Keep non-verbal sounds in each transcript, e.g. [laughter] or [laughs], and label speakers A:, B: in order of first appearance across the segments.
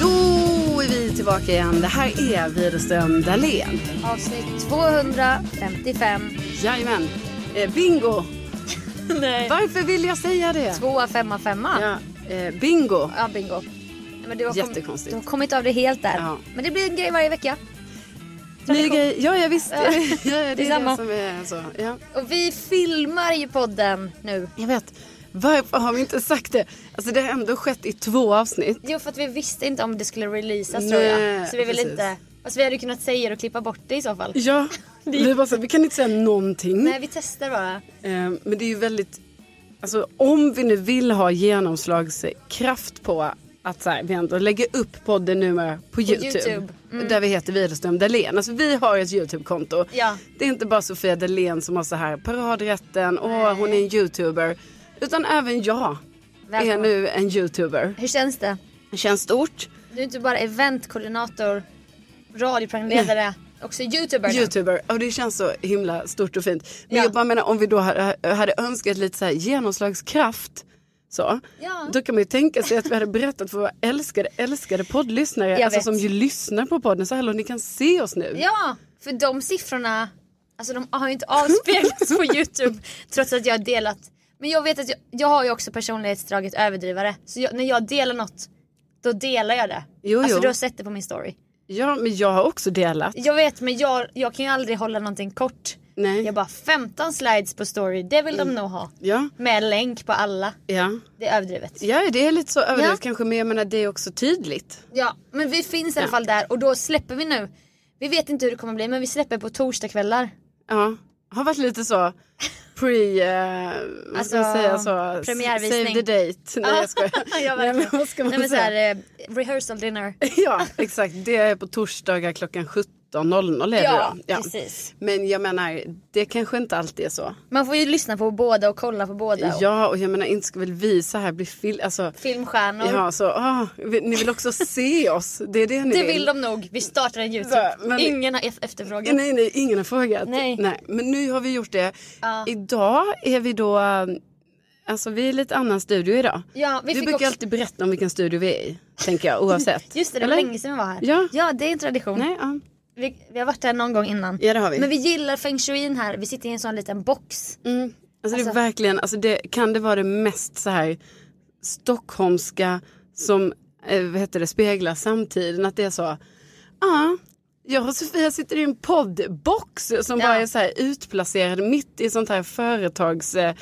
A: Då är vi tillbaka igen. Det här är Widerström Dahlén.
B: Avsnitt 255.
A: Jajamän. Eh, bingo! Varför vill jag säga det?
B: Tvåa, femma, femma. Ja,
A: Ja, eh, bingo.
B: bingo. Nej, Men du har
A: Jättekonstigt.
B: Kom, du har kommit av det helt där.
A: Ja.
B: Men det blir en grej varje vecka.
A: Ny grej. Ja, jag visste. [laughs] Ja, det är
B: Det är samma.
A: det som är så. Ja.
B: Och vi filmar ju podden nu.
A: Jag vet. Varför har vi inte sagt det? Alltså det har ändå skett i två avsnitt.
B: Jo, för att vi visste inte om det skulle releasas tror jag.
A: Nej,
B: Så vi vill
A: precis.
B: inte... Alltså vi hade ju kunnat säga det och klippa bort det i så fall.
A: Ja, vi, bara så, vi kan inte säga någonting.
B: Nej, vi testar bara.
A: Eh, men det är ju väldigt... Alltså om vi nu vill ha genomslagskraft på att så här, vi ändå lägger upp podden numera på, YouTube.
B: YouTube, Mm.
A: Där vi heter Widerström Dahlén. Alltså vi har ett YouTube-konto.
B: Ja.
A: Det är inte bara Sofia Dalén som har så här paradrätten och hon är en YouTuber. Utan även jag är
B: Välkommen.
A: nu en YouTuber.
B: Hur känns det?
A: Det känns stort.
B: Du är inte bara eventkoordinator, radioprogramledare, också youtuber nu.
A: Youtuber, och det känns så himla stort och fint. Men
B: Ja.
A: jag bara menar om vi då hade, hade önskat lite så här genomslagskraft så.
B: Ja.
A: Då kan man ju tänka sig att vi hade berättat för våra älskade, älskade poddlyssnare.
B: Jag
A: alltså
B: vet.
A: som ju lyssnar på podden så här och ni kan se oss nu.
B: Ja, för de siffrorna alltså de har ju inte avspeglats på Youtube trots att jag har delat. Men jag vet att jag, jag har ju också personlighetsdraget överdrivare. Så jag, när jag delar något, då delar jag det.
A: Jo,
B: alltså
A: jo.
B: du har sett det på min story.
A: Ja, men jag har också delat.
B: Jag vet men jag, jag kan ju aldrig hålla någonting kort.
A: Nej.
B: Jag bara 15 slides på story, det vill de nog ha.
A: Ja,
B: Med länk på alla.
A: ja.
B: Det är överdrivet.
A: Ja, det är lite så överdrivet
B: Ja.
A: kanske men jag menar det är också tydligt.
B: Ja, men vi finns i alla
A: Ja.
B: fall där och då släpper vi nu. Vi vet inte hur det kommer bli men vi släpper på torsdagskvällar.
A: Ja, har varit lite så pre, eh, vad ska man
B: Alltså,
A: säga så,
B: premiärvisning.
A: save the date. Nej jag skojar.
B: [laughs] ja,
A: Nej, men vad ska man
B: Nej, men så
A: säga?
B: här, eh, rehearsal dinner.
A: [laughs] Ja, exakt. Det är på torsdagar klockan 17.00 är det
B: Ja,
A: då.
B: precis.
A: Men jag menar, det kanske inte alltid är så.
B: Man får ju lyssna på båda och kolla på båda. Och
A: Ja, och jag menar inte ska väl vi så här bli fil... Alltså,
B: filmstjärnor.
A: ja, så, ah, vi- ni vill också se oss. Det är det ni
B: Det vill de nog. Vi startar en Youtube.
A: Så, men-
B: Ingen har ef- efterfrågat.
A: Nej, nej, ingen har frågat.
B: Nej.
A: men nu har vi gjort det.
B: Ja.
A: Idag är vi då... Alltså vi är i lite annan studio idag.
B: Ja, vi
A: vi
B: fick
A: brukar
B: också-
A: alltid berätta om vilken studio vi är i, tänker jag, oavsett.
B: [laughs] Just det, det var
A: Eller?
B: länge sedan vi var här.
A: Ja.
B: det är en tradition.
A: Nej, ja.
B: Vi, vi har varit här någon gång innan.
A: Ja, det har vi.
B: Men vi gillar feng shuin här. Vi sitter i en sån liten box.
A: Mm. Alltså, det
B: Alltså-
A: är verkligen, alltså det, kan det vara det mest så här stockholmska som eh, vad heter det, speglar samtiden? Att det är så, ja, ah, jag och Sofia sitter i en poddbox som
B: Ja.
A: bara är så här utplacerad mitt i sånt här företags eh,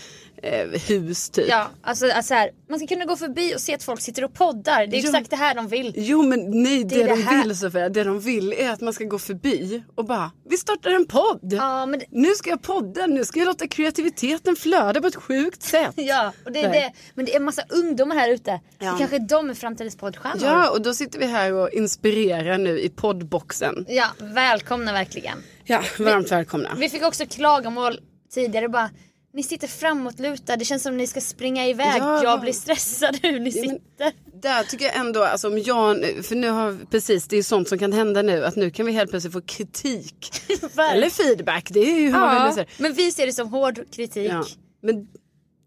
A: eh, hus typ.
B: Ja, alltså, alltså så här, man ska kunna gå förbi och se att folk sitter och poddar. Det är
A: Jo.
B: exakt det här
A: [laughs]
B: de vill.
A: Jo men nej det,
B: är det
A: de
B: här.
A: vill Sofia, det de vill är att man ska gå förbi och bara vi startar en podd.
B: Ja, men det,
A: Nu ska jag podda, nu ska jag låta kreativiteten flöda på ett sjukt sätt.
B: ja, och det är
A: Nej.
B: det. Men det är en massa ungdomar här ute.
A: Ja.
B: Det kanske är de är framtidens poddstjärnor.
A: Ja och då sitter vi här och inspirerar nu i poddboxen.
B: ja, välkomna verkligen.
A: Ja, varmt välkomna.
B: Vi fick också klagomål tidigare bara ni sitter framåtlutade, det känns som ni ska springa iväg.
A: Ja.
B: Jag blir stressad hur ni
A: men-
B: sitter.
A: Där tycker jag ändå, alltså om jag, för nu har, precis det är sånt som kan hända nu, att nu kan vi helt plötsligt få kritik.
B: Verkligen.
A: Eller feedback, det är ju hur man vill lösa
B: Ja,
A: det.
B: men vi ser det som hård kritik.
A: Ja. Men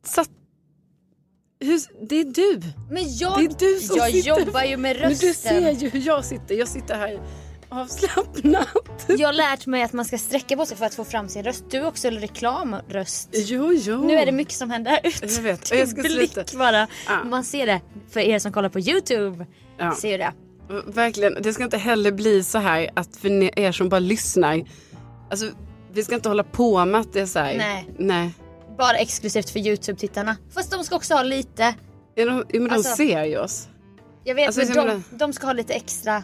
A: satt, hur, det är du.
B: Men jag,
A: Det är du som
B: jag
A: sitter-
B: jobbar ju med
A: Men du
B: rösten.
A: ser ju hur jag sitter, jag sitter här avslappnat.
B: Jag har lärt mig att man ska sträcka på sig för att få fram sin röst. Du också, eller reklamröst.
A: Jo, jo.
B: Nu är det mycket som händer här ute.
A: Jag vet, och jag ska
B: Din
A: sluta.
B: Blick bara.
A: Ja.
B: Man ser det. För er som kollar på YouTube
A: Ja.
B: ser ju det.
A: Verkligen, det ska inte heller bli så här att för ni- er som bara lyssnar, alltså vi ska inte hålla på med att det är så här.
B: Nej.
A: Nej.
B: Bara exklusivt för YouTube-tittarna. Fast de ska också ha lite.
A: Ja, de, ja, men
B: Alltså-
A: de ser ju oss.
B: Jag vet,
A: Alltså,
B: men
A: jag
B: de,
A: menar-
B: de ska ha lite extra.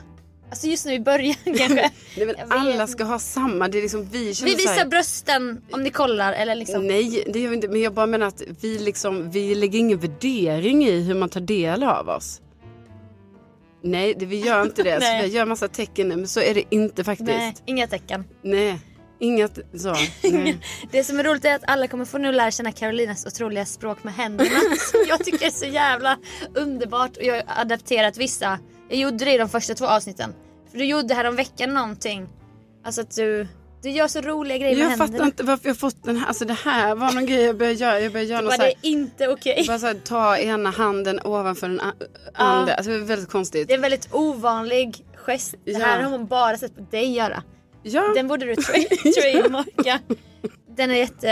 B: Alltså just nu i början
A: [laughs]
B: kanske.
A: Nej, men
B: Jag vet
A: alla
B: inte.
A: ska ha samma, det är liksom vi känner
B: Vi
A: så här, Mm,
B: visar brösten om ni kollar. Eller liksom.
A: Nej, det gör vi inte. Men jag bara menar att vi, liksom, vi lägger ingen värdering i hur man tar del av oss. Nej, det, vi gör
B: [laughs]
A: inte det.
B: Nej.
A: så vi gör massa tecken nu, men så är det inte faktiskt.
B: Nej,
A: Nej.
B: inga tecken.
A: Inget
B: [laughs]
A: så. Nej.
B: Det som är roligt är att alla kommer få nu lära känna Carolinas otroliga språk med
A: [laughs]
B: händerna. som jag tycker är så jävla underbart. Och jag har adapterat vissa. Jag gjorde det i de första två avsnitten. För du gjorde häromveckan någonting. Alltså att du, du gör så roliga grejer med
A: Jag
B: händerna.
A: fattar inte varför jag fått den här. Alltså det här var någon grej jag började göra. Jag började göra något
B: Bara,
A: så
B: det
A: här.
B: är inte okej.
A: Bara så här, ta ena handen ovanför den a- andra. Alltså det är väldigt konstigt.
B: Det är en väldigt ovanlig gest. Det här
A: Ja.
B: har man bara sett på dig göra.
A: [laughs] Ja,
B: Den borde du tra- trademarka. Den är eh,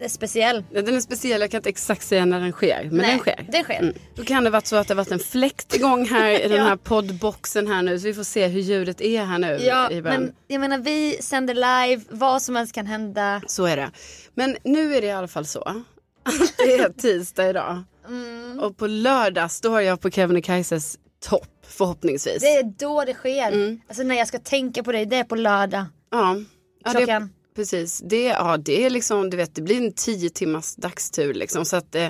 B: jättespeciell.
A: den är speciell. Jag kan inte exakt säga när den sker. Men
B: Nej,
A: den sker. Mm.
B: Den sker.
A: Då kan det varit så att det varit en fläkt igång här
B: [laughs]
A: i den
B: Ja.
A: här poddboxen här nu så vi får se hur ljudet är här nu
B: Ja,
A: i början.
B: men jag menar vi sänder live, vad som helst kan hända.
A: Så är det. Men nu är det i alla fall så. att Det är tisdag idag.
B: Mm.
A: Och på lördag står jag på Kebnekaises topp förhoppningsvis.
B: Det är då det sker.
A: Mm.
B: Alltså när jag ska tänka på dig, det är på lördag.
A: Ja. Ja, det,
B: Klockan.
A: precis. Det, ja, det är liksom, du vet, det blir en tio timmars dagstur liksom. Så att eh,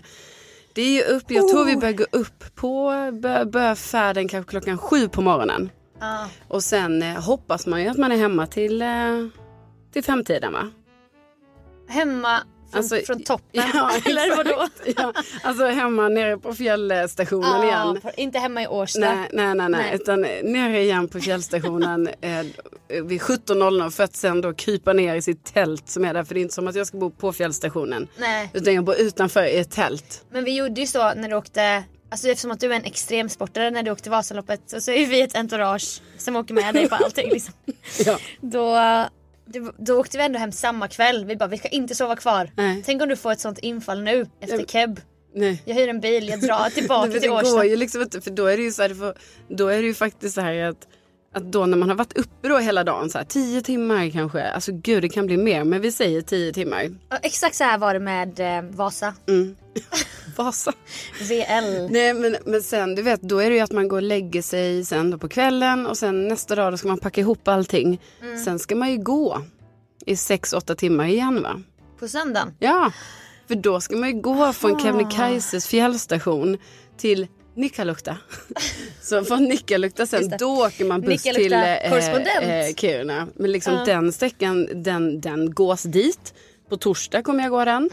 A: det är ju upp, jag tror
B: Oh.
A: vi börjar gå upp på, bör, börjar färden kanske klockan sju på morgonen.
B: Ja.
A: Och sen eh, hoppas man ju att man är hemma till, eh, till femtiden va?
B: Hemma från,
A: Alltså,
B: från toppen.
A: [laughs] ja,
B: [laughs] Eller vadå?
A: Ja, alltså hemma nere på fjällstationen
B: Ja,
A: igen.
B: på- inte hemma i Årsta.
A: Nej, nej, nej, nej,
B: Nej.
A: utan eh, nere igen på
B: [laughs]
A: fjällstationen eh, vid 17.00 för att sen då krypa ner i sitt tält som är där. För det är inte som att jag ska bo på fjällstationen.
B: Nej.
A: Utan jag bor utanför i ett tält.
B: Men vi gjorde ju så när du åkte, alltså eftersom att du är en extremsportare när du åkte Vasaloppet och så är vi ett entourage som åker
A: [laughs]
B: med dig på allting liksom.
A: Ja.
B: Då, det- då åkte vi ändå hem samma kväll. Vi bara vi ska inte sova kvar.
A: Nej.
B: Tänk om du får ett sånt infall nu efter Keb.
A: Nej.
B: Jag hyr en bil, jag
A: [laughs]
B: drar
A: Nej,
B: tillbaka
A: men
B: till
A: det går
B: Årsta.
A: ju liksom inte, för då är det ju så här, det får- då är det ju faktiskt så här att, att då när man har varit uppe då hela dagen, så här, tio timmar kanske, alltså gud det kan bli mer, men vi säger tio timmar.
B: Ja, Exakt så här var det med eh, Vasa.
A: Mm. Vasa.
B: VL.
A: Nej men, men sen du vet, då är det ju att man går och lägger sig sen då på kvällen och sen nästa dag då ska man packa ihop allting. Sen ska man ju gå i sex, åtta timmar igen va?
B: På söndagen.
A: Ja, för då ska man ju gå från Kebnekaises fjällstation till Nikkaluokta. Så från Nikkaluokta sen, då åker man buss till eh,
B: Nikkaluokta korrespondent.
A: Kiruna. Men liksom den sträckan, den, den gås dit. På torsdag kommer jag gå den.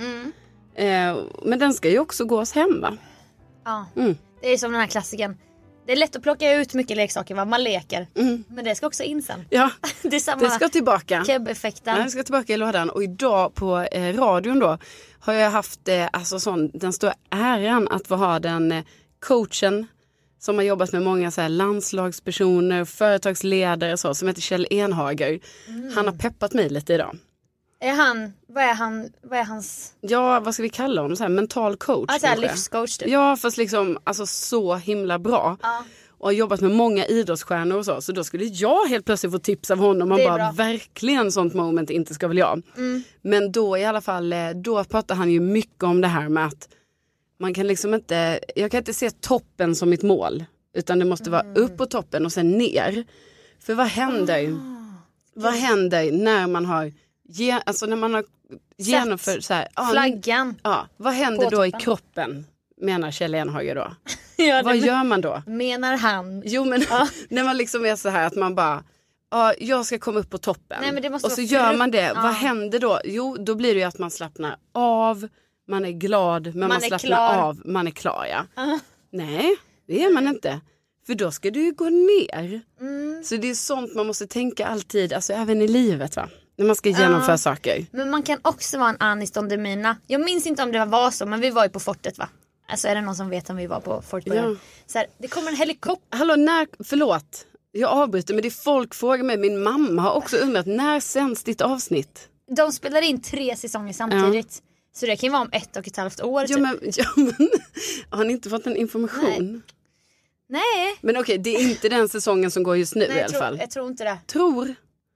A: Eh, men den ska ju också gås hem va?
B: Ja.
A: Mm.
B: Det är som den här klassiken. Det är lätt att plocka ut mycket leksaker va? Man leker. Men det ska också in sen. [laughs]
A: Ja,
B: Det är samma
A: Mm. det ska tillbaka.
B: Keb-effekten.
A: Ja, den ska tillbaka i lådan och idag på eh, radion då har jag haft eh, alltså sån, den stora äran att få ha den eh, coachen som har jobbat med många så här landslagspersoner, företagsledare och så som heter Kjell Enhager. Han har peppat mig lite idag.
B: Är han, vad är han, vad är hans,
A: Ja, vad ska vi kalla honom? Så här, mental coach?
B: alltså, här,
A: kanske?
B: livscoach typ?
A: Ja, fast liksom alltså så himla bra. och har jobbat med många idrottsstjärnor och så. Så då skulle jag helt plötsligt få tips av honom. Man
B: Det är
A: bara
B: bra. Mm.
A: verkligen sånt moment inte ska väl jag. Men då i alla fall, eh, då pratar han ju mycket om det här med att man kan liksom inte, jag kan inte se toppen som mitt mål. Utan det måste vara
B: Mm.
A: upp på toppen och sen ner. För vad händer?
B: Ah.
A: Vad händer när man har, ge, alltså när man har genomfört så här. ah, ja, [laughs]
B: Flaggan.
A: Ja, vad händer
B: På
A: då i
B: toppen.
A: kroppen? Menar Kjell Enhage då.
B: Ja,
A: Vad
B: det
A: gör man då?
B: menar han.
A: Jo men [laughs] när man liksom är så här att man bara Ja, jag ska komma upp på toppen.
B: Nej, men det måste
A: och så
B: vara
A: gör
B: frukt-
A: man det.
B: Ja.
A: Vad händer då? Jo, då blir det ju att man slappnar av. Man är glad, men man,
B: Man är
A: slappnar
B: klar.
A: av. Man är klar, ja. Nej, det är man inte. För då ska du ju gå ner.
B: Mm.
A: Så det är sånt man måste tänka alltid, alltså även i livet va. När man ska genomföra saker.
B: Men man kan också vara en Anis Don Demina. Jag minns inte om det var så men vi var ju på fortet va? Alltså är det någon som vet om vi var på fort
A: Ja.
B: ja. så här, Det kommer en helikopter.
A: Hallå, när, förlåt. Jag avbryter, men det är folk frågar mig. Min mamma har också undrat, när sänds ditt avsnitt?
B: De spelar in tre säsonger samtidigt. Så det kan ju vara om ett och ett halvt år.
A: Ja
B: typ.
A: men, [laughs] ja, men har ni inte fått den information?
B: Nej,
A: Men okej, det är inte den säsongen som går just nu
B: nej
A: i
B: jag,
A: alla
B: tror,
A: fall.
B: jag tror inte det.
A: Tror.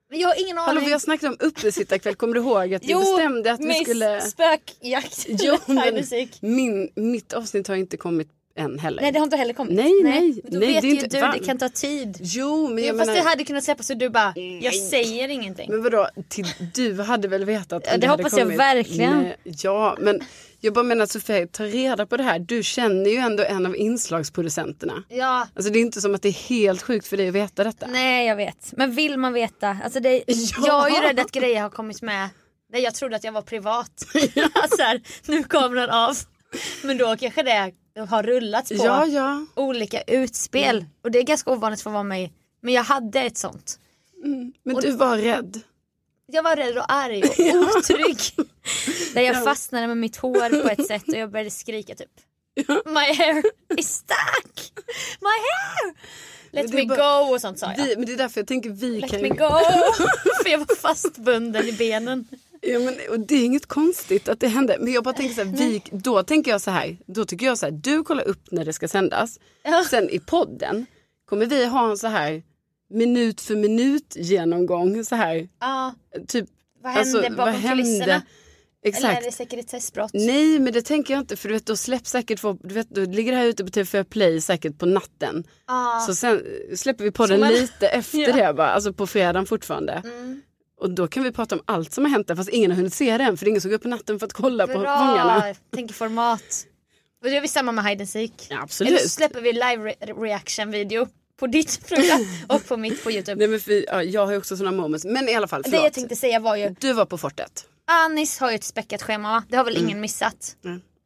B: Men jag har ingen
A: Hallå,
B: aning.
A: vi har snackat om uppesittarkväll. Kommer du ihåg att vi bestämde att vi
B: miss [laughs]
A: skulle...
B: spökjakt. [laughs]
A: Jo,
B: High
A: men
B: musik.
A: min, mitt avsnitt har inte kommit än heller.
B: Nej det har inte heller kommit.
A: Nej, nej,
B: Men Då
A: nej,
B: vet
A: det är
B: ju
A: inte-
B: du,
A: va?
B: det kan ta tid.
A: Jo, men
B: Ja,
A: jag
B: fast
A: menar... Mm.
B: det hade kunnat släppas och du bara, jag säger ingenting.
A: Men vadå, till, du hade väl vetat om
B: Ja, det
A: hade
B: hoppas jag
A: kommit.
B: verkligen.
A: Nej, ja, men jag bara menar Sofia, ta reda på det här. Du känner ju ändå en av inslagsproducenterna.
B: Ja,
A: Alltså det är inte som att det är helt sjukt för dig att veta detta.
B: Nej jag vet. Men vill man veta?
A: [laughs]
B: Alltså det, Jag är ju rädd att grejer har kommit med. Nej jag trodde att jag
A: [laughs]
B: var privat. [laughs] så här, nu kameran av. Men då kanske det har rullats på
A: Ja, Mm. ja.
B: olika utspel. Och det är ganska ovanligt för att vara mig. Men jag hade ett sånt.
A: Men du var rädd.
B: Jag var rädd och
A: [laughs]
B: arg och otrygg. Där jag fastnade med mitt hår på ett sätt och jag började skrika typ. My hair is stuck! My hair! Let
A: det
B: me
A: är bara-
B: go och sånt sa jag.
A: Vi, men det är därför jag tänker vi
B: Let
A: kan
B: me
A: ju...
B: go! [laughs] För jag var fastbunden i benen.
A: Ja, men, och det är inget konstigt att det hände. Men jag bara tänker så här, vi, då tänker jag så här. Då tycker jag så här, du kollar upp när det ska sändas.
B: Ja.
A: Sen i podden kommer vi ha en så här minut för minut genomgång. Så här,
B: Ja,
A: typ,
B: vad hände bakom kulisserna? Eller är
A: Exakt.
B: det sekretessbrott?
A: Nej, men det tänker jag inte. För du vet, då släpps säkert folk, du vet, då ligger det här ute på TV4 Play säkert på natten.
B: Ja.
A: Så sen eh, släpper vi podden
B: Så man- [laughs]
A: lite efter
B: Ja. Mm.
A: det, bara, alltså på fredagen fortfarande. Och då kan vi prata om allt som har hänt där, fast ingen har hunnit se den, för det är ingen som går upp på natten för att kolla på
B: Bra!
A: fångarna.
B: Tänk i format. Och då gör vi samma med Hide and Seek.
A: Ja, absolut.
B: Eller så släpper vi live re- reaction video på
A: [laughs]
B: ditt program och på mitt på Youtube.
A: Nej, men för, ja, jag har ju också sådana moments, men i alla fall,
B: Det
A: förlåt.
B: jag tänkte säga var ju,
A: Du var på fortet.
B: Anis har ju ett späckat schema va? Det har väl
A: Mm.
B: ingen missat.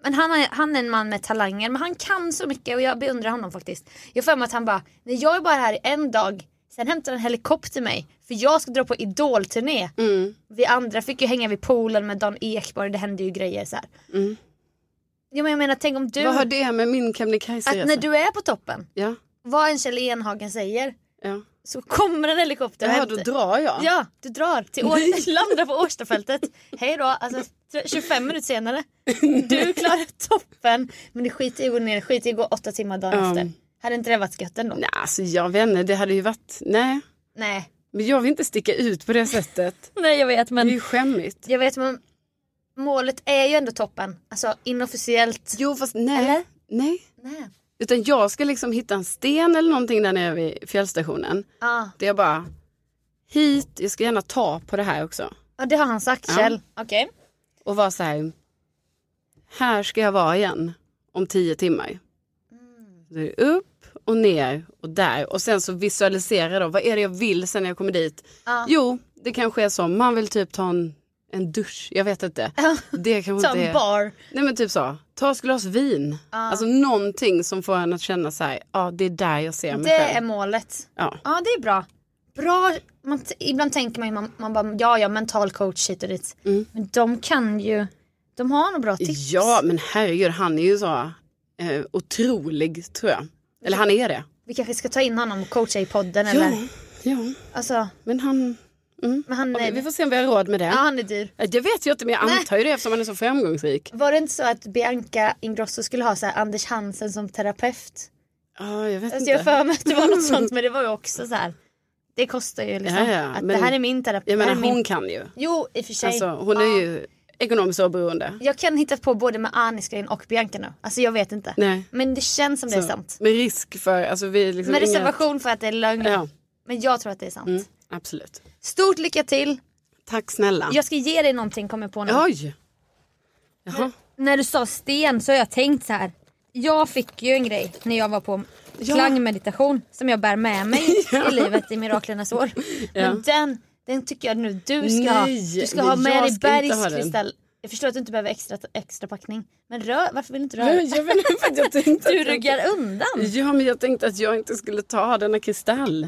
B: Men han är, han är en man med talanger men han kan så mycket och jag beundrar honom faktiskt. Jag får för mig att han bara, nej jag är bara här i en dag, sen hämtar en helikopter mig för jag ska dra på idolturné.
A: Mm.
B: Vi andra fick ju hänga vid poolen med Dan Ekborg, det hände ju grejer så här. Ja, men jag menar tänk om du,
A: Mm. Vad har
B: att
A: det med min Kebnekaise
B: när du är på toppen,
A: Ja,
B: vad en Kjell Enhagen säger
A: ja.
B: så kommer en helikopter och
A: Jaha,
B: hämtar-
A: då drar jag.
B: Ja, du drar till År- [laughs] landar på Årstafältet. Hej då, alltså tr- 25 minuter senare. Du klarar toppen. Men det skiter i att gå ner, skiter i att gå åtta timmar dagen
A: Ja.
B: efter. Hade inte det varit gött ändå?
A: Nej, alltså jag vet inte, det hade ju varit, nej.
B: Nej,
A: Men jag vill inte sticka ut på det sättet.
B: nej jag vet
A: Det är
B: men.
A: ju skämmigt.
B: Jag vet men målet är ju ändå toppen. Alltså inofficiellt.
A: Jo, fast nej.
B: Eller?
A: Nej.
B: Nej.
A: Utan jag ska liksom hitta en sten eller någonting där nere vid fjällstationen.
B: Ja,
A: Där jag bara, hit, jag ska gärna ta på det här också.
B: Ja, det har han sagt Kjell. Okej.
A: Och vara så här, här ska jag vara igen om tio timmar.
B: Mm.
A: Då är det upp och ner och där. Och sen så visualisera då, vad är det jag vill sen när jag kommer dit? Jo, det kanske är så, man vill typ ta en, en dusch, jag vet inte. Det kanske
B: Ta
A: inte
B: en
A: är...
B: bar.
A: Nej men typ så, ta ett glas vin. Alltså någonting som får en att känna så här, ja det är där jag ser mig
B: Det
A: själv.
B: är målet.
A: Ja.
B: Ja det är bra. Bra, man, t- ibland tänker man ju man, man bara ja ja mental coach hit och dit. Men de kan ju, de har nog bra tips.
A: Mm. ja men herregud han är ju så eh, otrolig tror jag. Eller han är det.
B: Vi kanske ska ta in honom och coacha i podden eller?
A: Ja, ja.
B: Alltså,
A: men han,
B: men han,
A: okej,
B: är,
A: vi får se om vi har råd med det. Eh,
B: ja, han är dyr.
A: Det vet jag inte men jag antar ju det eftersom han är så framgångsrik.
B: Var det inte så att Bianca Ingrosso skulle ha så här Anders Hansen som terapeut?
A: Ja, jag vet inte.
B: Alltså
A: Mm.
B: jag har för mig att det var
A: [laughs]
B: något sånt men det var ju också så här. Det kostar ju liksom.
A: Ja, ja,
B: att det
A: men-
B: här är min terapi.
A: Jag
B: det
A: menar
B: här är min...
A: hon kan ju.
B: Jo i och för sig.
A: Alltså, hon är ju ekonomiskt oberoende.
B: Jag kan hitta på både med Anis-grejen och Bianca nu. Alltså jag vet inte.
A: Nej.
B: Men det känns som det är
A: Så,
B: sant.
A: Med risk för, alltså vi är liksom
B: Med
A: inga-
B: reservation för att det är lögn.
A: Ja, Mm.
B: Men jag tror att det är sant.
A: absolut.
B: Stort lycka till.
A: Tack snälla.
B: Jag ska ge dig någonting kommer jag på nu.
A: Oj! Jaha.
B: När du sa sten så har jag tänkt så här. Jag fick ju en grej när jag var på
A: Ja.
B: klangmeditation som jag bär
A: [laughs]
B: med mig i livet i miraklernas år. Men den, den tycker jag nu du ska ha.
A: Nej,
B: Du ska
A: nej,
B: ha med
A: jag
B: dig
A: ska inte ha den.
B: bergskristall. Jag förstår att du inte behöver extra, extra packning. Men rör, varför vill du inte röra?
A: Nej, Jag, vet inte, för att jag tänkte
B: Du
A: att jag-
B: ryggar undan.
A: Ja, men jag tänkte att jag inte skulle ta denna kristall.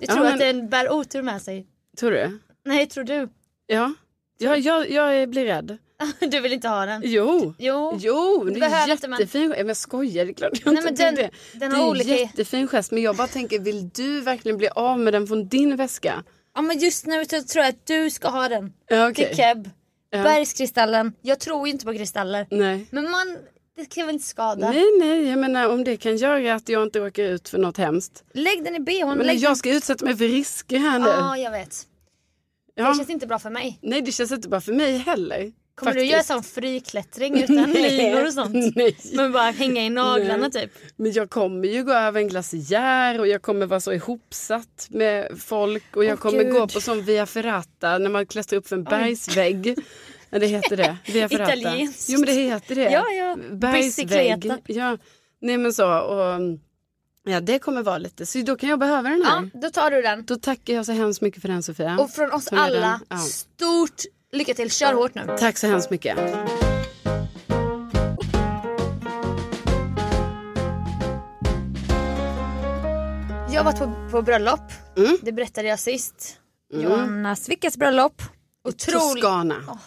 B: Du
A: Ja,
B: tror
A: men-
B: att den bär otur med sig.
A: Tror du?
B: Nej, tror du. [laughs]
A: Ja. Ja, jag, jag blir rädd.
B: Du vill inte ha den.
A: Jo.
B: Jo.
A: Jo, det är
B: behöver inte man.
A: jättefin gest. Men jag skojar, det är klart jag
B: Nej,
A: inte
B: men
A: tror
B: den-
A: det.
B: den
A: det
B: har
A: är
B: olika-
A: en jättefin gest. Men jag bara tänker, vill du verkligen bli av med den från din väska?
B: Ja men just nu så tror jag att du ska ha den.
A: Ja,
B: Det
A: okej.
B: är keb. Bergskristallen. Jag tror ju inte på kristaller.
A: Nej.
B: Men man, det kan väl inte skada.
A: Nej, nej, jag menar om det kan göra att jag inte råkar ut för något hemskt.
B: Lägg den i bhn.
A: Men
B: Lägg den-
A: jag ska utsätta mig för risker här nu.
B: Ja, jag vet.
A: ja.
B: Det känns inte bra för mig.
A: Nej, det känns inte bra för mig heller.
B: Kommer
A: faktiskt.
B: du göra sån friklättring
A: [laughs]
B: utan linor och sånt?
A: Nej.
B: Men bara hänga i naglarna
A: Nej.
B: typ.
A: Men jag kommer ju gå över en glaciär och jag kommer vara så ihopsatt med folk och jag
B: Åh,
A: kommer gå
B: Gud.
A: på sån via ferrata när man klättrar upp för en bergsvägg. Ja, det heter det. Via ferrata.
B: Italienskt.
A: Jo men det heter det.
B: Ja, ja.
A: Bergsvägg.
B: Bicicleta.
A: Ja. Nej men så och ja det kommer vara lite så då kan jag behöva den här.
B: Ja, då tar du den.
A: Då tackar jag så hemskt mycket för den Sofia.
B: Och från oss
A: Ta med den.
B: alla,
A: Ja.
B: stort lycka till. Kör hårt nu.
A: Tack så hemskt mycket.
B: Jag har varit på, på bröllop.
A: Mm.
B: Det berättade jag sist. Johanna Svickas bröllop. Otroligt.
A: Toscana.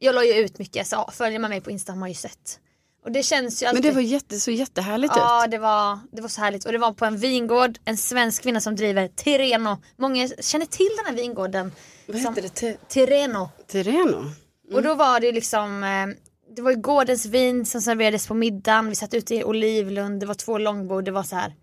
B: Jag la ju ut mycket. Så följer man mig på Insta har man ju sett. Och det känns ju
A: men
B: alltid.
A: det var jätte, så jättehärligt
B: Ja
A: ut.
B: det var, det var så härligt och det var på en vingård, en svensk kvinna som driver Tireno. Många känner till den här vingården.
A: Vad
B: som-
A: heter det? Te-
B: Tireno.
A: Terreno?
B: Och
A: Mm.
B: då var det liksom, eh, det var ju gårdens vin som serverades på middagen, vi satt ute i Olivlund, det var två långbord, det var så här.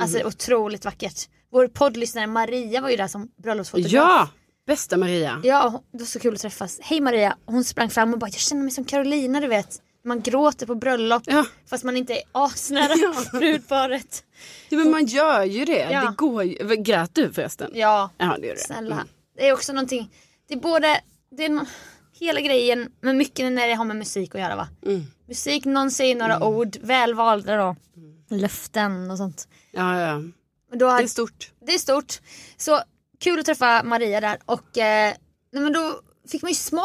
B: Alltså
A: Mm.
B: otroligt vackert. Vår poddlyssnare Maria var ju där som bröllopsfotograf.
A: Ja! Bästa Maria.
B: Ja, det var så kul att träffas. Hej Maria, hon sprang fram och bara jag känner mig som Carolina du vet. Man gråter på bröllop
A: Ja.
B: fast man inte är asnära [laughs] brudparet.
A: Ja, men man gör ju det.
B: Ja.
A: det går ju. Grät du förresten?
B: Ja,
A: Ja, det gör du.
B: snälla.
A: Mm.
B: Det är också någonting, det är både, det är nå- hela grejen men mycket när det har med musik att göra va.
A: Mm.
B: Musik, någon säger några ord, välvalda då. Löften och sånt.
A: Ja, ja.
B: Men Då har,
A: Mm. Det är stort.
B: det är stort. Så kul att träffa Maria där och eh, nej, men då fick man ju smak.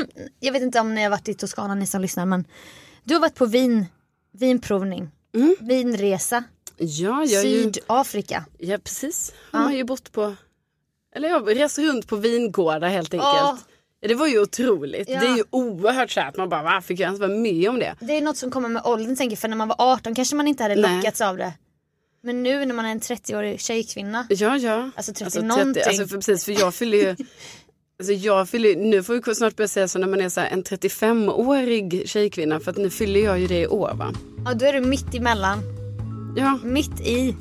B: [laughs] jag vet inte om ni har varit i Toscana ni som lyssnar men du har varit på vin, vinprovning, vinresa,
A: Ja, Mm. jag är ju...
B: Sydafrika.
A: Ja, precis. Har man ju bott på... Eller jag reser runt på vingårdar helt enkelt.
B: Ja.
A: Ja, det var ju otroligt.
B: Ja.
A: Det är ju oerhört så här att man bara, varför fick jag ens vara med om det?
B: Det är något som kommer med åldern tänker jag, för när man var 18 kanske man inte hade
A: Nej.
B: lockats av det. Men nu när man är en 30-årig tjejkvinna.
A: Ja, ja.
B: Alltså 30 någonting.
A: alltså, för, precis, för jag fyller
B: [laughs]
A: ju... Alltså jag fyller, ju- nu får vi snart börja säga så när man är så här en 35-årig tjejkvinna för att nu fyller jag ju det i år va?
B: Ja då är du mitt emellan.
A: Ja,
B: Mitt i.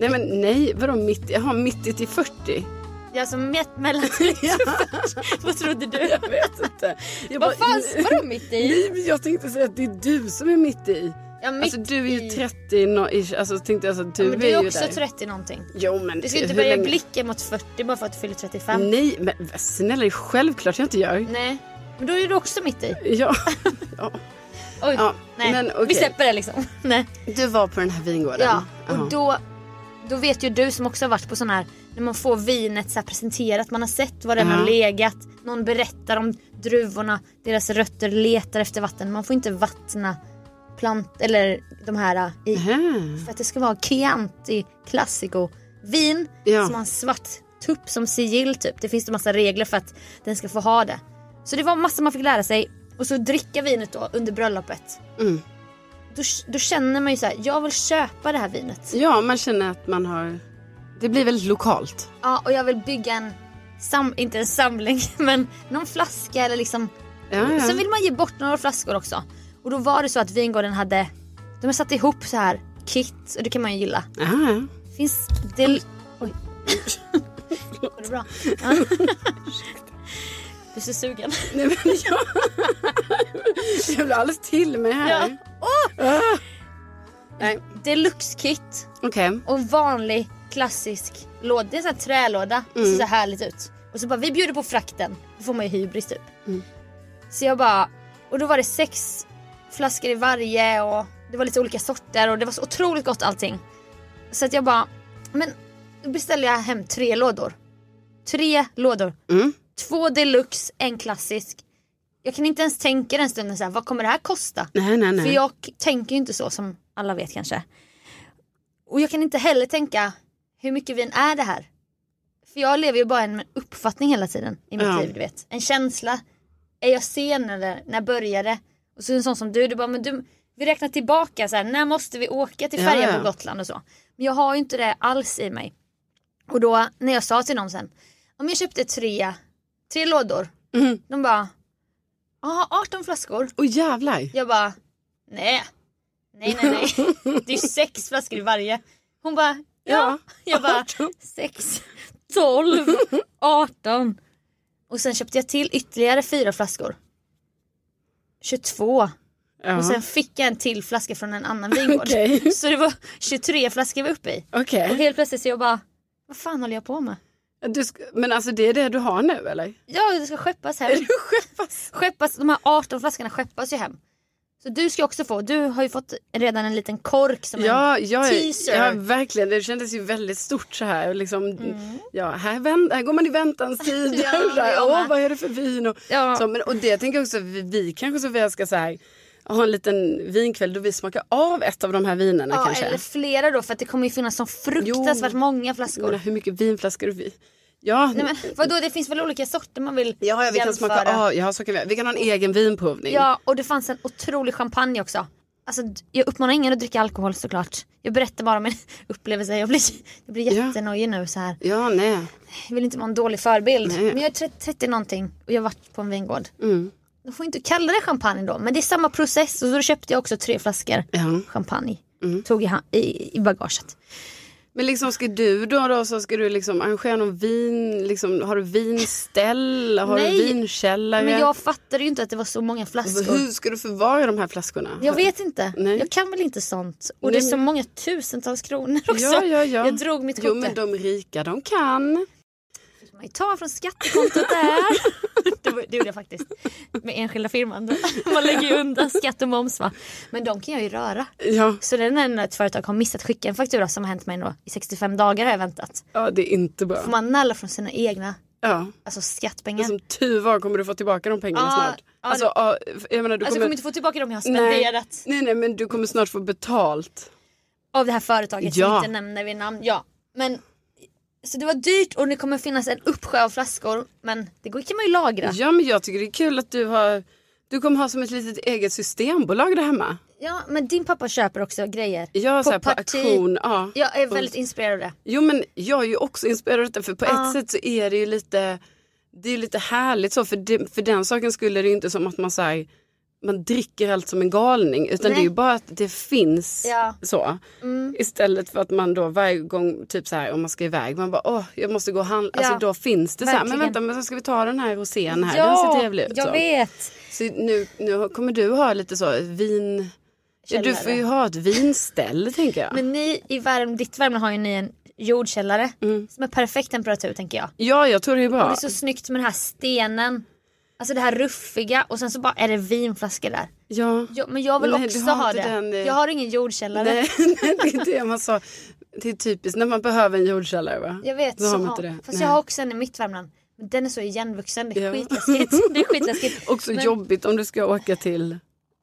A: nej men nej, vadå mitt, jag har mitt i till 40.
B: Jag är alltså mitt
A: [laughs]
B: mellan 30 Vad trodde du?
A: Jag vet inte. Jag
B: Vad
A: bara-
B: fan, vadå mitt i?
A: Nej, men jag tänkte säga att det är du som är mitt i.
B: Ja, mitt
A: alltså du är ju
B: i.
A: 30 no ish. Alltså tänkte jag så att du,
B: Ja, men du
A: är
B: är
A: ju
B: också
A: där.
B: 30 någonting.
A: Jo men
B: Du ska inte
A: hur
B: börja
A: länge-
B: blicka mot 40 bara för att du fyller 35.
A: Nej men snälla det är självklart jag inte gör.
B: Nej. Men då är du också mitt i. [laughs]
A: Ja. ja.
B: Oj,
A: Ja,
B: nej.
A: men okej.
B: Vi släpper det liksom. [laughs] Nej.
A: Du var på den här vingården.
B: Ja, och då, då vet ju du som också har varit på sån här, när man får vinet så här presenterat, man har sett var den
A: Ja.
B: har legat, någon berättar om druvorna, deras rötter letar efter vatten. Man får inte vattna plant, eller de här äh, i,
A: Mhm.
B: för att det ska vara Chianti Classico vin
A: Ja.
B: som har en svart tupp som sigill typ. Det finns en massa regler för att den ska få ha det. Så det var massa man fick lära sig och så dricka vinet då under bröllopet.
A: Mm.
B: Då, då känner man ju så här, jag vill köpa det här vinet.
A: Ja man känner att man har. Det blir väldigt lokalt.
B: Ja, och jag vill bygga en, sam- inte en samling, [laughs] men någon flaska eller liksom.
A: Ja, ja.
B: Sen vill man ge bort några flaskor också. Och då var det så att vingården hade, de har satt ihop så här kit och det kan man ju gilla.
A: Ah,
B: Finns det... [laughs] Oj. Går det bra? [laughs] Ja. Du är så sugen.
A: nej men [laughs] jag... jag blir alldeles till mig här.
B: Ja.
A: Nej,
B: Deluxe-kit
A: okej.
B: och en vanlig klassisk låda. Det är en sån här trälåda. Det ser så härligt ut. Och så bara vi bjuder på frakten. Då får man ju hybris typ. Så jag bara... Och då var det sex flaskor i varje och det var lite olika sorter och det var så otroligt gott allting. Så att jag bara... Men då beställde jag hem tre lådor. Tre lådor.
A: Mm.
B: Två deluxe, en klassisk. Jag kan inte ens tänka den stunden så här, vad kommer det här kosta?
A: Nej, nej, nej.
B: För jag k- tänker ju inte så som alla vet kanske. Och jag kan inte heller tänka hur mycket vin är det här? För jag lever ju bara en uppfattning hela tiden i mitt
A: Ja.
B: liv du vet. En känsla. Är jag sen eller när började? Och så en sån som du, du bara men du, vi räknar tillbaka så här, när måste vi åka till
A: Ja,
B: färjan
A: ja.
B: på Gotland och så. Men jag har ju inte det alls i mig. Och då när jag sa till någon sen, om jag köpte tre, tre lådor.
A: Mm.
B: De bara, jaha 18 flaskor.
A: Åh jävlar.
B: Jag bara, nej. Nej, nej, [laughs] nej. Det är sex flaskor i varje. Hon bara, ja. Jag bara, sex, tolv, arton. Och sen köpte jag till ytterligare fyra flaskor. 22.
A: Ja.
B: Och sen fick jag en till flaska från en annan [laughs] vingård.
A: Okej.
B: Så det var 23 flaskor vi var uppe i.
A: Okej.
B: Och helt plötsligt så jag bara, vad fan håller jag på med?
A: Du sk- Men alltså det är det du har nu
B: [laughs]
A: eller?
B: Ja, det ska skeppas [laughs] hem. skeppas? De här 18 flaskorna skeppas ju hem. Så du ska också få, du har ju fått redan en liten kork som
A: Ja,
B: en
A: jag,
B: teaser. Mm.
A: ja, verkligen. Det kändes ju väldigt stort så här. och Liksom, ja, här, vänt, här går man i väntans tid.
B: [laughs] Ja,
A: och [laughs] så här,
B: jag
A: Åh,
B: med.
A: vad är det för vin? Och,
B: Ja.
A: så, men, och det tänker jag också, vi, vi kanske Sofia ska så här, ha en liten vinkväll då vi smakar av ett av de här vinerna
B: Ja,
A: kanske.
B: eller flera då för att det kommer ju finnas så fruktansvärt
A: Jo.
B: många
A: Jag menar,
B: flaskor.
A: hur mycket vinflaskor och vi... Ja,
B: Nej, men, vadå, det finns väl olika sorter man vill
A: ja, ja, vi kan smaka Ah, av. Ja, så kan vi, vi kan ha en egen vinprovning.
B: Ja, och det fanns en otrolig champagne också. Alltså, d- jag uppmanar ingen att dricka alkohol såklart. Jag berättar bara om min [laughs] upplevelse. Jag blir, jag blir
A: Ja.
B: jättenojig nu så här.
A: Ja, nej.
B: Jag vill inte vara en dålig förebild.
A: Nej.
B: Men jag är 30, 30 någonting och jag har varit på en vingård.
A: Mm.
B: De får inte kalla det champagne då, men det är samma process. Och så köpte jag också tre flaskor
A: Ja.
B: champagne.
A: Mm.
B: Tog i, ha- i, i bagaget.
A: Men liksom ska du då, då så ska du liksom arrangera någon vin, liksom, har du vinställ, har du
B: Nej,
A: vinkällare?
B: Men jag fattade ju inte att det var så många
A: Alltså,
B: flaskor.
A: Hur ska du förvara de här flaskorna?
B: Jag vet inte.
A: Nej.
B: Jag kan väl inte sånt. Och
A: Nej,
B: det är så många tusentals kronor också.
A: Ja, ja, ja.
B: Jag drog mitt
A: Jo
B: kort.
A: men
B: där.
A: de rika de kan.
B: Man tar från skattekontot där.
A: [laughs]
B: det, var, det gjorde jag faktiskt. Med enskilda firman. Man lägger ju undan skatt och moms va. Men de kan jag ju röra.
A: Ja,
B: Så det är när ett företag har missat skicka en faktura som har hänt mig då. I 65 dagar har jag väntat.
A: ja det är inte bra.
B: Får man nalla från sina egna
A: Ja.
B: alltså skattpengar.
A: Som tur var kommer du få tillbaka de pengarna
B: Ja,
A: snart.
B: ja,
A: alltså,
B: det-
A: ja, jag menar, du
B: Alltså jag kommer inte få tillbaka dem jag har spenderat
A: nej, nej men du kommer snart få betalt.
B: av det här företaget som
A: Ja.
B: inte nämner vid namn. Ja, men så det var dyrt och det kommer finnas en uppsjö av flaskor men det går- kan man ju lagra. Ja,
A: Ja men jag tycker det är kul att du har, du kommer ha som ett litet eget systembolag där hemma.
B: men din pappa köper också grejer.
A: Ja, så här, på
B: parti.
A: auktion. Ja.
B: Jag är väldigt inspirerad av det.
A: Jo men jag är ju också inspirerad av detta för på ett sätt så är det ju lite Det är ju lite härligt så för, det, för den saken skulle det ju inte som att man säger man dricker allt som en galning utan
B: Nej.
A: det är ju bara att det finns
B: Ja. Mm.
A: så. Istället för att man då varje gång typ så här om man ska iväg man bara åh jag måste gå och handla. Alltså
B: Ja.
A: då finns det så här men
B: Verkligen.
A: vänta men så ska vi ta den här rosén här den
B: ja,
A: ser trevlig ut.
B: jag
A: så.
B: vet.
A: Så nu, nu kommer du ha lite så vin ja, du
B: Källare.
A: får ju ha ett vinställ tänker jag.
B: Men ni i Värm, ditt Värmland har ju ni en jordkällare som är perfekt temperatur tänker jag.
A: Mm. Ja jag tror det är bra.
B: Och det är så snyggt med den här stenen. Alltså det här ruffiga och sen så bara är det vinflaskor där.
A: ja.
B: Ja, men jag vill
A: Nej, du
B: också
A: har
B: ha
A: inte
B: det.
A: den, eh,
B: Jag har ingen jordkällare.
A: Nej, nej, [laughs] det är det man sa. Det är typiskt när man behöver en jordkällare va?
B: Jag vet.
A: Då har
B: så,
A: man
B: ja.
A: inte det.
B: Fast
A: Nej.
B: jag har också en i mitt Värmland. Men den är så igenvuxen. Det är
A: Ja. [laughs]
B: skitläskigt. Det är skitläskigt.
A: Också
B: Men
A: jobbigt om du ska åka till...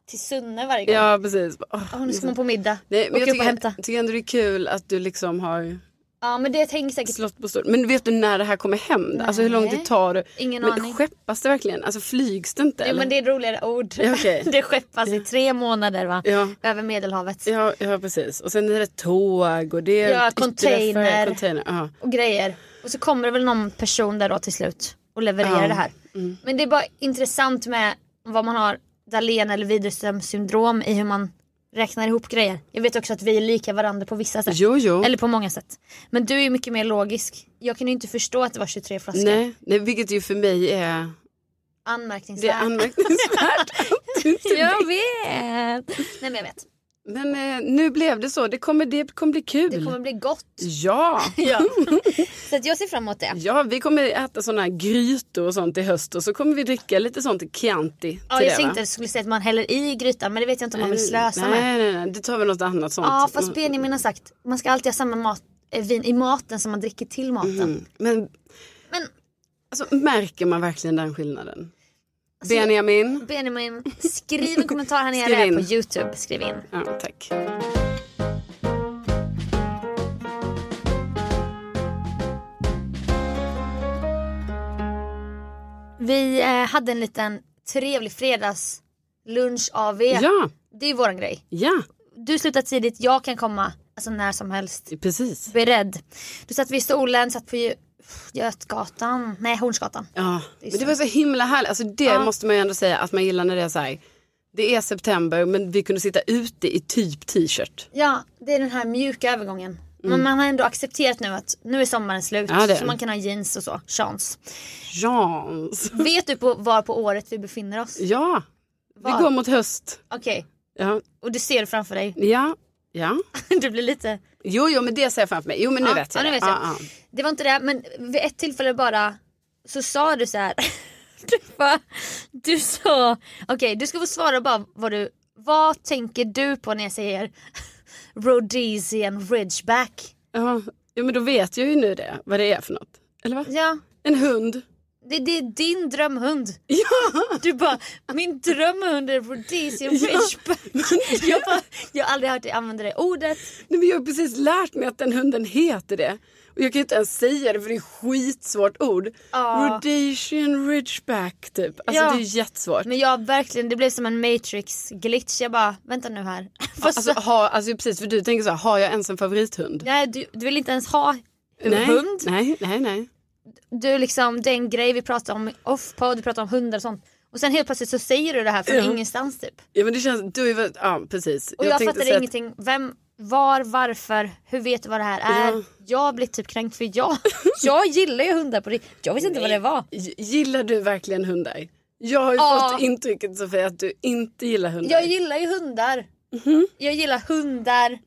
B: Till Sunne varje gång.
A: Ja precis. Åh, liksom.
B: Åh, nu ska man på middag.
A: Nej, men
B: Åka
A: jag
B: upp och hämta.
A: tycker, tycker ändå det är kul att du liksom har
B: Ja men det tänker säkert.
A: slått på stort. Men vet du när det här kommer hem? Alltså hur lång
B: Nej.
A: tid tar det?
B: Ingen
A: men
B: aning.
A: Skeppas det verkligen? Alltså flygs det inte?
B: Jo men det är ett roligare ord.
A: Ja, okej.
B: [laughs] det skeppas i tre månader va?
A: Ja.
B: Över medelhavet.
A: Ja, ja precis. Och sen är det tåg och det är
B: Ja,
A: yttre
B: container.
A: affär, container. Ja.
B: Och grejer. Och så kommer det väl någon person där då till slut. Och levererar
A: Ja. Mm.
B: det här. Men det är bara intressant med vad man har Dahlén eller Widerström syndrom i hur man räknar ihop grejer. Jag vet också att vi är lika varandra på vissa sätt.
A: Jo, jo.
B: Eller på många sätt. Men du är ju mycket mer logisk. Jag kan ju inte förstå att det var 23 flaskor.
A: Nej, nej, vilket ju för mig är, det
B: Anmärkningsvärt.
A: är
B: [laughs]
A: anmärkningsvärt. att du inte
B: jag vet. Nej men jag vet.
A: Men eh, nu blev det så. Det kommer, det kommer bli kul.
B: Det kommer bli gott.
A: Ja. [laughs]
B: Ja. [laughs] Så att jag ser fram emot det.
A: ja, vi kommer äta såna här grytor och sånt i höst och så kommer vi dricka lite sånt Chianti. till
B: Ja, jag
A: det,
B: tänkte
A: va? Mm.
B: att du skulle säga att man häller i grytan men det vet jag inte om man vill slösa
A: nej,
B: med.
A: Nej, nej, det tar väl något annat sånt. Mm.
B: Ja fast Benjamin har sagt man ska alltid ha samma mat, eh, vin i maten som man dricker till maten.
A: Mhm. Men
B: Men
A: alltså, märker man verkligen den skillnaden?
B: Alltså-
A: Benjamin?
B: Benjamin skriv en kommentar
A: [laughs]
B: här
A: Skriv
B: nere
A: in.
B: på Youtube. Skriv in.
A: Ja, tack.
B: Vi eh, hade en liten trevlig fredagslunch av er.
A: Ja,
B: Det är ju våran grej.
A: ja,
B: Du slutar tidigt, jag kan komma alltså när som helst.
A: precis.
B: Beredd. Du satt vid solen, satt på Gö- Götgatan, nej Hornsgatan.
A: Ja,
B: är
A: men det var så himla härligt. Alltså det måste man ju ändå säga att man gillar när det är så här. Det är september men vi kunde sitta ute i typ t-shirt.
B: Ja, det är den här mjuka övergången. Men man har ändå accepterat nu att nu är sommaren slut
A: Mm. Ja, det är
B: så
A: den.
B: man kan ha jeans och så, chans.
A: Jans.
B: Vet du på, var på året vi befinner oss?
A: Ja,
B: Var?
A: vi går mot höst.
B: Okej,
A: Ja,
B: och du ser det framför dig. [laughs]
A: ja, ja.
B: Du blir lite...
A: Jo, jo, men det ser jag framför mig. Jo, men nu
B: Ja,
A: vet
B: ja,
A: jag
B: nu
A: det.
B: vet jag.
A: Ja, ja.
B: Det var inte det, men vid ett tillfälle bara så sa du så här. [laughs] Du, bara, du sa, okej du ska få svara bara vad du, vad tänker du på när jag säger [laughs] Rhodesian Ridgeback?
A: Ja. ja, men då vet jag ju nu det, vad det är för något. Eller vad?
B: Ja,
A: En hund.
B: det, det är din drömhund. [laughs] Du bara, min drömhund är
A: [laughs]
B: Rhodesian Ridgeback. Jag, bara, jag har aldrig hört dig använda det ordet.
A: Nej, men jag har precis lärt mig att den hunden heter det. Och jag kan ju inte ens säga det för det är ett skitsvårt ord.
B: Ja.
A: Rhodesian Ridgeback typ. Alltså
B: Ja.
A: det är ju jättesvårt.
B: Men jag verkligen, det blev som en matrix glitch. Jag bara, vänta nu här. [laughs] Fast,
A: Alltså, ha, alltså precis, för du tänker så här, har jag ens en favorithund?
B: nej, du, du vill inte ens ha en
A: nej,
B: hund.
A: Nej, nej, nej.
B: du liksom, det är en grej vi pratar om off du pratar om hundar och sånt. Och sen helt plötsligt så säger du det här från
A: Ja.
B: ingenstans typ.
A: Ja men det känns, du är väl, ja precis.
B: Och jag,
A: tänkte
B: fattade
A: säga att-
B: ingenting. Vem, var, varför, hur vet du vad det här är?
A: Ja.
B: Jag blev typ kränkt för jag, [laughs] jag gillar ju hundar på riktigt. Jag visste inte vad det var.
A: G- Gillar du verkligen hundar? Jag har ju
B: Ja.
A: fått intrycket Sofia att du inte gillar hundar.
B: Jag gillar ju hundar.
A: Mhm.
B: Jag gillar hundar.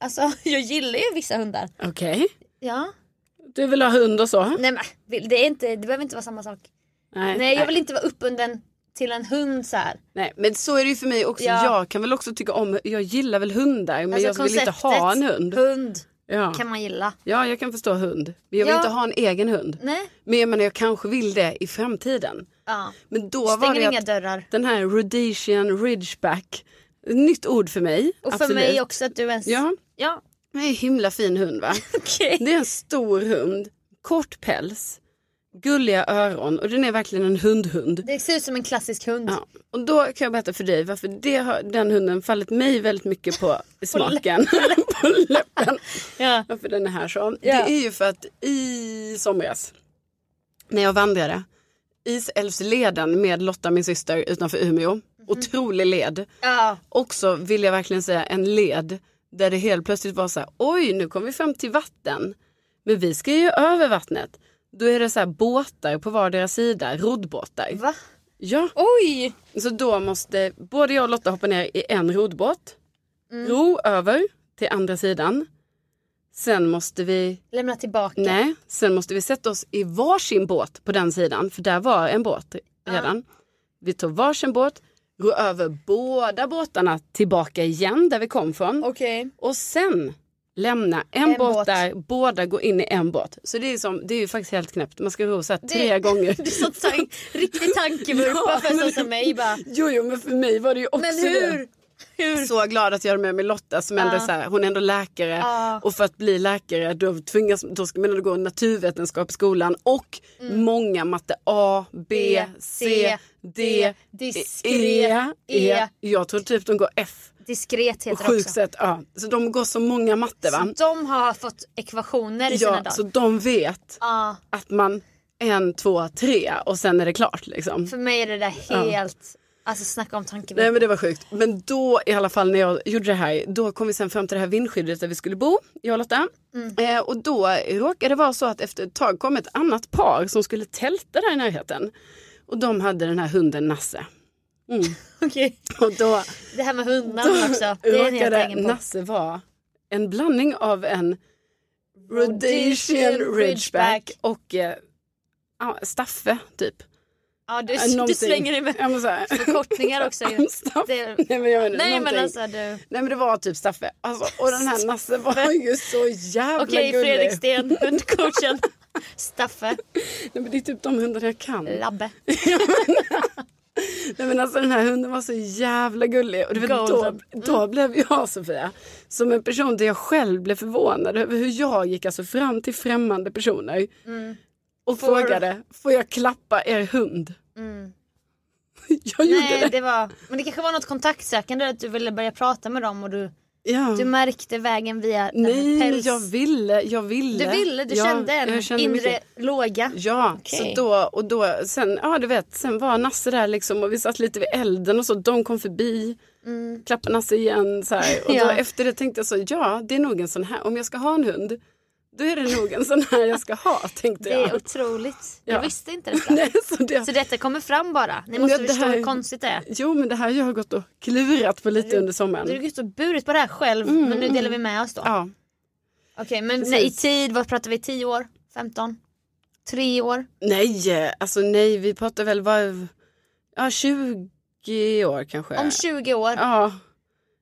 B: Alltså [laughs] jag gillar ju vissa hundar.
A: Okej,
B: Ja.
A: du vill ha hund och så?
B: Nej men vill- det, är inte, det behöver inte vara samma sak.
A: Nej,
B: Mm. Nej jag vill inte vara uppbunden till en hund så här.
A: nej. Men så är det ju för mig också.
B: Ja.
A: Jag kan väl också tycka om, jag gillar väl hundar men
B: Alltså,
A: jag vill inte ha en
B: konceptet
A: hund.
B: Hund
A: Ja.
B: kan man gilla.
A: ja, jag kan förstå hund. Men jag vill
B: Ja.
A: inte ha en egen hund.
B: Nej.
A: Men jag menar jag kanske vill det i framtiden.
B: Ja.
A: Men då var
B: Stänger
A: det
B: inga
A: att
B: dörrar.
A: den här Rhodesian Ridgeback, ett nytt ord för mig.
B: Och för
A: absolut.
B: mig också att du ens...
A: Ja,
B: ja.
A: det är en himla fin hund
B: [laughs]
A: va?
B: Okej.
A: Det är en stor hund, kort päls, gulliga öron och den är verkligen en hundhund.
B: Det ser ut som en klassisk hund.
A: Ja. Och då kan jag berätta för dig varför det har, den hunden fallit mig väldigt mycket på smaken. [laughs] på läppen.
B: Ja.
A: Varför den är här så.
B: Ja.
A: Det är ju för att i somras när jag vandrade Isälvsleden med Lotta min syster utanför Umeå. Otrolig led.
B: Ja.
A: Också vill jag verkligen säga en led där det helt plötsligt var så här oj nu kom vi fram till vatten. Men vi ska ju över vattnet. Då är det så här båtar på vardera sida, roddbåtar.
B: Va?
A: Ja.
B: Oj!
A: Så då måste både jag och Lotta hoppa ner i en roddbåt, ro över till andra sidan. Sen måste vi,
B: Lämna tillbaka.
A: nej, sen måste vi sätta oss i varsin båt på den sidan, för där var en båt redan. Vi tog varsin båt, ro över båda båtarna tillbaka igen där vi kom från.
B: Okej.
A: Och sen lämna en,
B: En
A: båt,
B: båt.
A: där, båda går in i en båt. Så det är, som, det är ju faktiskt helt knäppt, man ska ro så här tre
B: [laughs]
A: gånger.
B: Du sa tan- riktig tankevurpa
A: Ja,
B: för en sån
A: men-
B: som
A: [laughs]
B: mig bara.
A: Jo, jo, men för mig var det ju också
B: Men
A: det.
B: hur? Hur?
A: så glad att jag är med mig Lotta som ändå är så här, hon är ändå läkare
B: Ja.
A: och för att bli läkare då, tvingas, då ska man ändå gå naturvetenskap i skolan och många matte A, B,
B: Mm. B,
A: C, D,
B: diskret,
A: E.
B: E.
A: Jag tror typ de går F
B: Diskret
A: och
B: heter det också.
A: sjuksätt A. Så de går så många matte va?
B: Så de har fått ekvationer i sina
A: Ja,
B: dagar.
A: så de vet
B: Ja,
A: att man en, två, tre och sen är det klart liksom.
B: för mig är det där helt... Alltså snacka om tankebilder.
A: Nej men det var sjukt. Men då i alla fall när jag gjorde det här, då kom vi sen fram till det här vindskyddet där vi skulle bo, jag och Lotta.
B: Mm.
A: Eh, och då råkade det vara så att efter ett tag kom ett annat par som skulle tälta där i närheten. Och de hade den här hunden Nasse.
B: Okej.
A: Och då
B: Det här med hundarna också. Det är en helt
A: råkade
B: egen på.
A: Nasse vara en blandning av en Rhodesian Ridgeback och eh, ja, Staffe typ.
B: Ja, du,
A: Eh,
B: du
A: någonting.
B: slänger dig med
A: Ja, men så här. [laughs]
B: förkortningar också. ju.
A: Staffe.
B: Det-
A: Nej men, jag menar,
B: Nej men
A: någonting.
B: alltså du.
A: Nej men det var typ Staffe. Alltså, och den här Nasse var ju så jävla
B: Okej
A: gullig.
B: Fredrik
A: [laughs]
B: Sten, hundcoachen. Staffe,
A: Nej, men det är typ de hundarna jag kan.
B: Labbe.
A: Nej, men alltså, den här hunden var så jävla gullig. Och du vet, då,
B: Golden. Mm.
A: då blev jag Sofia, som en person där jag själv blev förvånad över hur jag gick alltså fram till främmande personer och
B: Mm. Får- Mm.
A: frågade, får jag klappa er hund? [laughs] Jag [laughs] gjorde
B: Nej
A: det.
B: det var, men det kanske var något kontaktsökande att du ville börja prata med dem och du,
A: Ja.
B: du märkte vägen via den här
A: Nej, men
B: päls.
A: jag ville, jag ville.
B: Du ville, du
A: Ja,
B: kände en
A: jag kände
B: inre
A: mycket.
B: låga.
A: Ja,
B: Okej.
A: så då och då sen, ja du vet, sen var Nasse där liksom och vi satt lite vid elden och så, de kom förbi, klappade Nasse igen så här. Och
B: Mm. [laughs] Ja.
A: då efter det tänkte jag så, ja det är nog en sån här, om jag ska ha en hund, då är det nog en sån här jag ska ha tänkte
B: Det är
A: jag.
B: otroligt. Jag
A: Ja.
B: visste inte
A: [laughs]
B: detta.
A: Nej, [laughs] så det,
B: Så detta kommer fram bara. Ni
A: Ja,
B: måste
A: det
B: förstå
A: här-
B: hur konstigt det är.
A: Jo men det här jag har gått och klurat på lite under
B: Du har
A: sommaren.
B: gått och burit på det här själv
A: Mm,
B: men nu delar vi med oss då.
A: Ja,
B: Okej men nej, i tid, vad pratar vi? 10 år? 15? 3 år?
A: nej, eh, alltså nej vi pratar väl var, ja 20 år kanske.
B: Om 20 år?
A: Ja.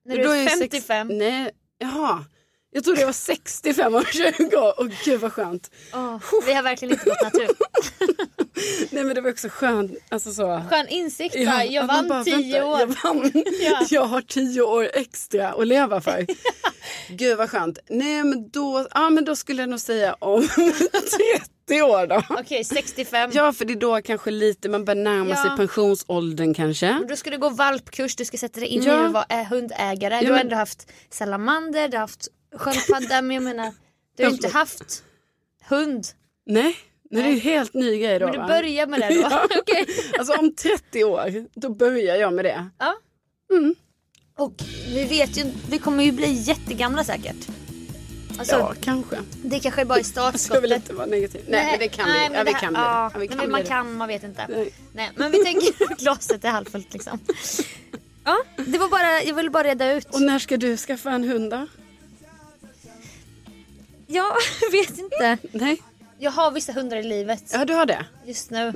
B: när du är
A: ju sex- Mm.
B: 55?
A: Nej, jaha. Jag trodde jag var 65 och 20 år. Åh gud vad skönt.
B: Åh, vi har verkligen inte gått
A: [laughs]
B: natur.
A: Nej men det var också skönt. Alltså så.
B: Skön insikt
A: Ja,
B: där. Jag
A: att man
B: vann
A: bara,
B: 10
A: vänta,
B: år.
A: Jag, vann.
B: [laughs] Ja.
A: jag har 10 år extra att leva
B: [laughs]
A: för. Gud vad skönt. Nej men då, ja, men då skulle jag nog säga om [laughs] 30 år då.
B: Okej 65.
A: Ja för det är då kanske lite man börjar närma
B: Ja.
A: sig pensionsåldern kanske.
B: Du ska du gå valpkurs, du ska sätta dig in
A: Ja.
B: i att vara ä- hundägare. Du
A: Ja,
B: har
A: men-
B: ändå haft salamander, du har haft sköldpadda men jag menar du har ju inte haft hund.
A: Nej, nej det är ju helt ny grej då.
B: Men du
A: va?
B: börjar med det då.
A: [laughs] Ja.
B: [laughs] Okej.
A: Alltså om 30 år, då börjar jag med det.
B: Ja.
A: Mm.
B: Och vi vet ju, vi kommer ju bli jättegamla säkert. Alltså,
A: Ja, kanske.
B: Det kanske är bara i
A: Så [laughs] jag vill
B: startskottet.
A: inte vara negativ. Nej, men det kan
B: nej,
A: vi.
B: men
A: Ja,
B: det
A: vi
B: här-
A: kan bli
B: ja,
A: det. Ja, vi
B: men
A: kan
B: Man
A: bli
B: kan, man vet inte. Nej.
A: Nej.
B: men vi tänker [laughs] glaset är halvfullt liksom. Ja, det var bara, jag ville bara reda ut.
A: det. Och när ska du skaffa en hund då?
B: Jag [laughs] vet inte.
A: Nej.
B: Jag har vissa hundar i livet
A: Ja, Mhm. du har det?
B: just nu.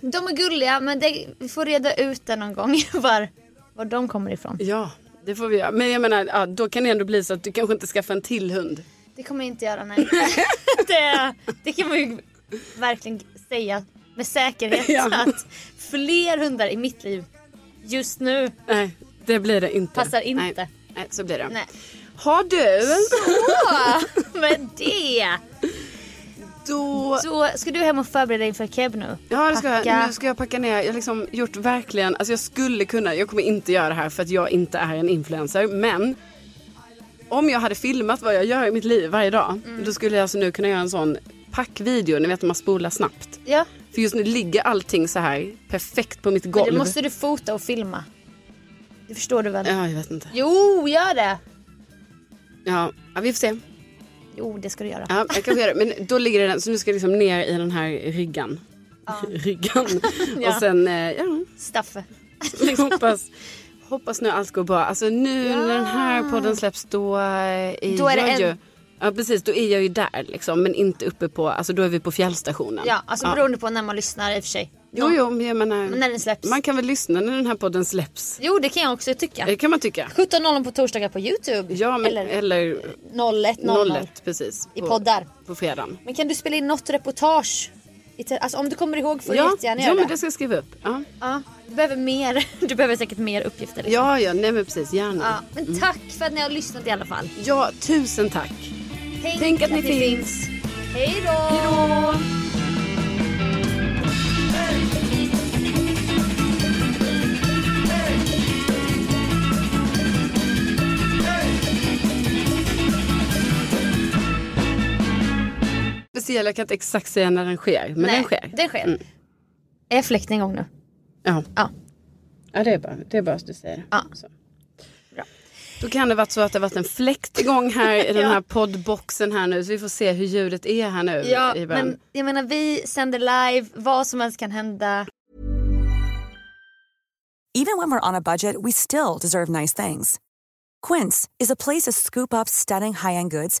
B: De är gulliga men det, vi får reda ut det någon gång [laughs] var, var de kommer ifrån.
A: Ja, det får vi göra. Men jag menar, ja, då kan det ändå bli så att du kanske inte skaffar en till hund.
B: Det kommer jag inte
A: [laughs]
B: göra nej. det, det kan man ju verkligen säga med säkerhet
A: Ja.
B: att fler hundar i mitt liv just nu
A: Nej, det blir det inte.
B: Passar inte.
A: Nej, Nej så blir det.
B: Nej.
A: Har du,
B: med det.
A: då...
B: Så ska du hem och förbereda dig inför keb nu?
A: Ja, det ska
B: Packa.
A: jag. Nu ska jag packa ner. Jag har liksom gjort verkligen... Alltså jag skulle kunna... Jag kommer inte göra det här för att jag inte är en influencer. Men om jag hade filmat vad jag gör i mitt liv varje dag.
B: Mm.
A: Då skulle jag alltså nu kunna göra en sån packvideo. Ni vet när man spolar snabbt.
B: Ja,
A: För just nu ligger allting så här perfekt på mitt
B: men det
A: golv.
B: måste du fota och filma. Det förstår du väl?
A: Ja, jag vet inte.
B: Jo, gör det!
A: Ja, ja vi får se.
B: Jo, det ska du göra.
A: Ja, jag kanske gör det. Men då ligger den, så nu ska jag liksom ner i den här ryggan. [laughs] ryggan.
B: [laughs] Ja.
A: Och sen, eh, ja,
B: Staffe.
A: [laughs] jag hoppas, hoppas nu allt går bra. Alltså nu när den här podden släpps då eh, är,
B: Då är det
A: jag
B: en-
A: ju... Ja precis, då är jag ju där liksom. Men inte uppe på, alltså då är vi på fjällstationen.
B: Ja, alltså beroende på när man lyssnar i och för sig.
A: Jo, jo, men jag menar.
B: Men när den släpps.
A: Man kan väl lyssna när den här podden släpps.
B: Jo, det kan jag också tycka.
A: Det kan man tycka.
B: 17.00 på torsdagar på Youtube.
A: Ja, men,
B: Eller
A: eller
B: 01.00
A: 01 precis.
B: i
A: på-
B: poddar.
A: På fredagen.
B: Men kan du spela in något reportage? I te- Alltså om du kommer ihåg får du
A: Ja,
B: jättegärna
A: ja
B: göra
A: men
B: det.
A: det ska jag skriva upp. Ja,
B: Ja, du behöver mer. [laughs] Du behöver säkert mer uppgifter. liksom.
A: ja, Mm. ja nej men precis, gärna.
B: Ja, men tack för att ni har lyssnat i alla fall.
A: Ja, tusen tack.
B: Tänk,
A: Tänk att ni
B: finns. Hej då!
A: Speciell, jag kan inte exakt säga när den sker, men den sker.
B: Den sker. Är jag fläkt en gång nu?
A: Ja.
B: Ja.
A: Ja, det är bra, det är bra att du säger.
B: Ja.
A: Så.
B: Bra.
A: Då kan det varit så att det varit en fläkt igång här
B: [laughs]
A: i den här poddboxen här nu. Så vi får se hur ljudet är här nu
B: Ja,
A: i början.
B: men jag menar vi sänder live, vad som helst kan hända.
C: Even when we're on a budget, we still deserve nice things. Quince is a place to scoop up stunning high-end goods